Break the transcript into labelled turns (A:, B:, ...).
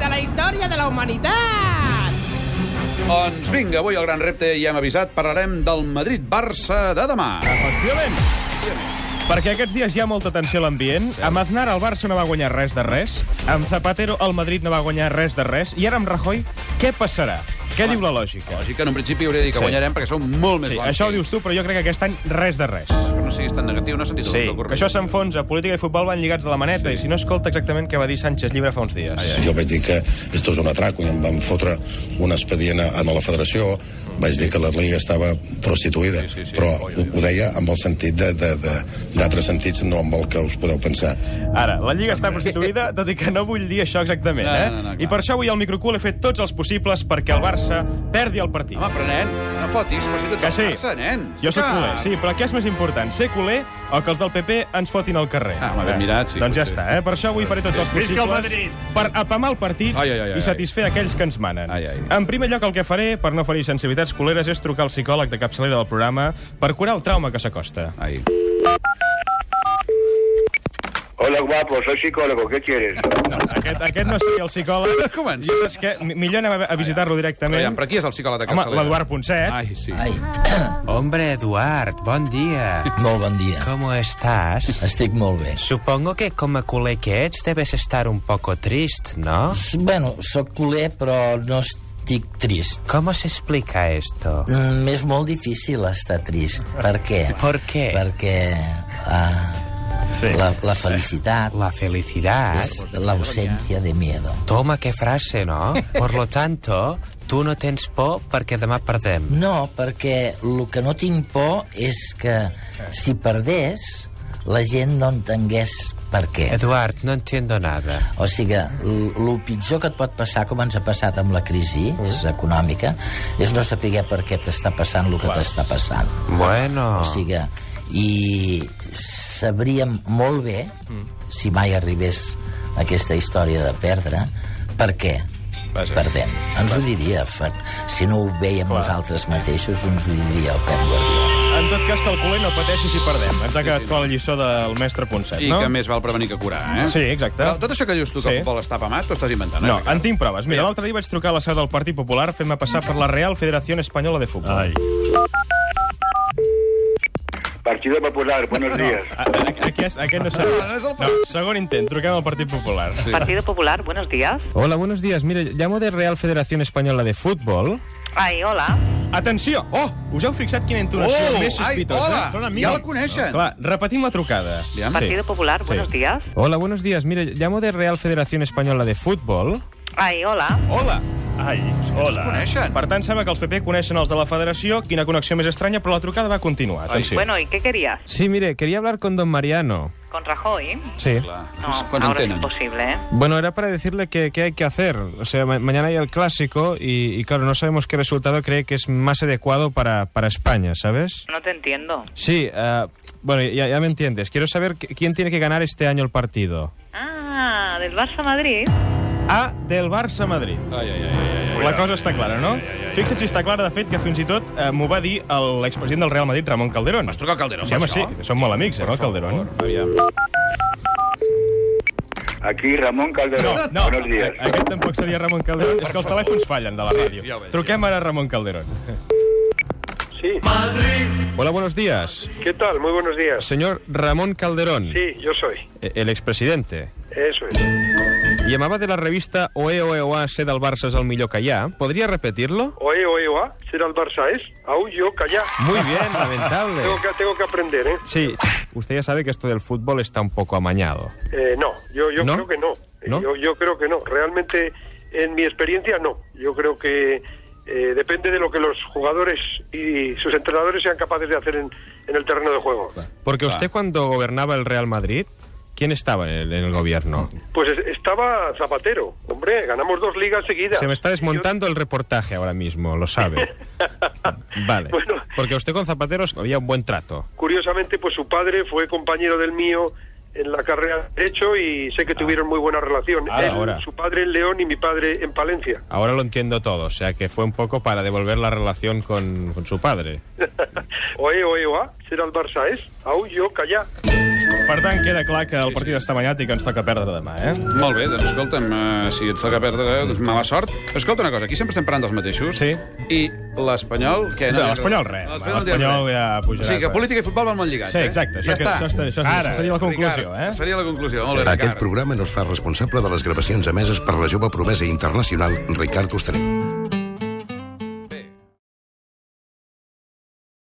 A: batalla de la humanitat!
B: Doncs vinga, avui el gran repte, ja hem avisat, parlarem del Madrid-Barça de demà.
C: Efectivament. Perquè aquests dies hi ha molta tensió a l'ambient. Amb Aznar el Barça no va guanyar res de res. Amb Zapatero el Madrid no va guanyar res de res. I ara amb Rajoy, què passarà? Què diu la lògica?
B: Lògic que en un principi hauria de dir que
C: Sí.
B: guanyarem perquè som molt més
C: Sí,
B: bons.
C: això ho
B: que ells.
C: dius tu, però jo crec que aquest any res de res.
B: Que no siguis tan negatiu, no has sentit
C: Sí,
B: el que
C: que això s'enfonsa. Política i futbol van lligats de la maneta, i si no, escolta exactament què va dir Sánchez Llibre fa uns dies.
D: Eh, Jo vaig dir que esto és un atraco i em van fotre un expedient a a la federació, vaig dir que la Liga estava
B: Sí,
D: prostituïda,
B: sí, sí.
D: però
B: Oi,
D: ho, ho deia amb el sentit de- de- de- d'altres sentits, no amb el que us podeu pensar.
C: Ara, la Lliga està prostituïda, tot i que no vull dir això exactament,
B: No,
C: eh?
B: no, no, clar.
C: I per això avui al Microcool he fet tots els possibles perquè el Barça perdi el partit.
B: Home, però nen, no fotis, però si tu ets
C: Que
B: el
C: sí.
B: Barça, nen.
C: Jo soc
B: Ah.
C: culer, sí, però què és més important, ser culer o que els del PP ens fotin al carrer?
B: Ah, m'ha ben
C: Eh,
B: mirat, sí,
C: Doncs ja
B: potser.
C: està, eh? Per això avui faré tots els
E: Visca el
C: possibles per apamar el partit
B: Ai, ai, ai, ai.
C: i satisfer aquells que ens manen.
B: Ai, ai.
C: En primer lloc, el que faré, per no ferir sensibilitats culeres, és trucar al psicòleg de capçalera del programa per curar el trauma que s'acosta.
B: Ai.
F: Hola, guapo, soy psicólogo, ¿qué quieres?
C: Aquest, aquest no seria el psicòleg.
B: Comença.
C: Jo saps què? Mi- Millor anem a, a visitar-lo directament.
B: Aviam, però qui és el psicòleg de
C: Home,
B: capçalera?
C: l'Eduard Ponset.
B: Ai, sí.
G: Ai,
H: Hombre, Eduard, bon dia.
G: molt bon dia.
H: ¿Cómo estás?
G: Estic molt bé.
H: Supongo que com a culer que ets debes estar un poco trist, ¿no?
G: Bueno, sóc culer, però no estic trist.
H: ¿Cómo se explica esto?
G: Mm, és molt difícil estar trist. Per què?
H: ¿Por qué?
G: Perquè ah,
C: Sí.
G: la, la felicitat
H: La felicidad.
G: és l'ausencia de miedo.
H: Toma, qué frase, ¿no? Por lo tanto, tu no tens por perquè demà perdem.
G: No, perquè el que no tinc por és que si perdés la gent no entengués per què.
H: Eduard, no entiendo nada.
G: O sigui, el pitjor que et pot passar, com ens ha passat amb la crisi econòmica, és no saber per què t'està passant el que t'està passant.
H: Bueno,
G: O sigui, i sabríem molt bé, si mai arribés aquesta història de perdre, per què
C: Vaja.
G: perdem. Ens ho diria, Fer- si no ho veiem nosaltres mateixos, ens ho diria el Pep Guardiola.
C: En tot cas, que el culer no pateixi si perdem. Ens ha quedat clara la lliçó del mestre Ponset,
B: I
C: no?
B: que més val prevenir que curar, eh?
C: Sí, exacte.
B: Però tot això que dius tu, que
C: Sí.
B: el futbol està pamat, t'ho estàs inventant,
C: No,
B: eh?
C: en tinc proves. Mira, l'altre dia vaig trucar a la seu del Partit Popular fent-me passar per la Real Federació Espanyola de Futbol. Ai.
F: Partido Popular, buenos días.
C: ah, Aquest, aquest no serà.
B: no és el
C: No, segon intent, truquem al Partit Popular.
B: Sí.
I: Partido Popular, buenos días.
C: Hola, buenos días. Mire, llamo de Real Federación Española de Fútbol.
I: Ay, hola.
C: Atenció! Oh! Us heu fixat quina entonació
B: Oh!
C: més
B: Ai,
C: sospitosa?
B: hola!
C: Són amics.
B: Ja el coneixen.
C: Clar, repetim la trucada.
B: Aviam.
I: Partido Popular, buenos días.
C: Hola, buenos días. Mire, llamo de Real Federación Española de Fútbol.
I: Ay, hola.
C: Hola! Ai, hola.
B: Coneixen.
C: Per tant, sembla que els PP coneixen els de la federació. Quina connexió més estranya, però la trucada va continuar. Atenció.
I: Bueno, ¿y qué querías?
C: Sí, mire, quería hablar con don Mariano.
I: ¿Con Rajoy?
C: Sí.
B: Clar.
I: No,
B: Quan
I: ahora es
B: entenen.
I: imposible, ¿eh?
C: Bueno, era para decirle que, que hay que hacer. O sea, ma- mañana hay el clásico y, y, claro, no sabemos qué resultado cree que es más adecuado para, para España, ¿sabes?
I: No te entiendo.
C: Sí, ah, bueno, ya, ya me entiendes. Quiero saber qu- quién tiene que ganar este año el partido.
I: Ah, del Barça Madrid.
C: A del Barça-Madrid.
B: Ai, ai, ai, ai, ai.
C: La cosa està clara, no? Fixa't si està clara, de fet, que fins i tot eh, m'ho va dir el- l'expresident del Real Madrid, Ramon Calderón.
B: Vas trucar al Calderón,
C: Sí, home,
B: per
C: sí,
B: això?
C: que són molt amics, eh, no, el Calderón?
B: Aviam.
F: Aquí Ramón
C: No,
F: Calderón,
C: no, Ah,
F: buenos días.
C: a- aquest tampoc seria Ramon Calderón. És que els telèfons fallen de la ràdio.
B: ja ho veig,
C: Truquem ara a Ramon Calderón.
E: Sí.
C: Hola, buenos días.
E: ¿Qué tal? Muy buenos días.
C: Señor Ramón Calderón,
E: Sí, yo soy.
C: eh, el expresidente.
E: Eso es.
C: Llamaba de la revista Oe Oe Oa, ser del Barça és el millor que hi ha. Podria repetirlo?
E: Oe, oe, oa. Será el Barça, ¿es? Aún yo, calla.
C: Muy bien, lamentable.
E: Tengo que, tengo que aprender, ¿eh?
C: Sí, usted ya sabe que esto del fútbol está un poco amañado.
E: Eh, no, yo, yo
C: ¿No?
E: creo que no. Eh,
C: ¿No?
E: Yo, yo creo que no. Realmente, en mi experiencia, no. Yo creo que eh, depende de lo que los jugadores y sus entrenadores sean capaces de hacer en, en el terreno de juego.
C: Porque usted cuando gobernaba el Real Madrid, ¿quién estaba en el, en el gobierno?
E: Pues es- estaba Zapatero. Hombre, ganamos dos ligas seguidas.
C: Se me está
E: Y yo-
C: desmontando el reportaje ahora mismo, lo sabe. Vale.
E: Bueno.
C: Porque usted con Zapateros había un buen trato.
E: Curiosamente, pues su padre fue compañero del mío en la carrera de derecho y sé que tuvieron muy buena relación.
C: Ah,
E: Él-
C: ahora.
E: Su padre en León y mi padre en Palencia.
C: Ahora lo entiendo todo, o sea que fue un poco para devolver la relación con, con su padre.
E: oe, oe, oa, será el Barça, ¿es? Aún yo, calla.
C: Per tant, queda clar que el partit està banyat i que ens toca perdre demà, eh?
B: Molt bé, doncs escolta'm, eh, si et toca perdre, doncs mala sort. Escolta una cosa, aquí sempre estem parlant dels mateixos.
C: Sí.
B: I l'Espanyol, què?
C: No, l'Espanyol
B: res.
C: res.
B: no dirà
C: L'Espanyol
B: res.
C: ja pujarà,
B: O sigui que
C: però.
B: política i futbol van molt lligats,
C: Sí,
B: eh?
C: exacte. Això
B: Ja
C: que-
B: està.
C: això està- això
B: Ara.
C: seria la conclusió,
B: Ricard,
C: eh?
B: Seria la conclusió. Molt bé,
D: Aquest
B: Ricard.
D: programa no es fa responsable de les gravacions emeses per la jove promesa internacional Ricard Ostaner.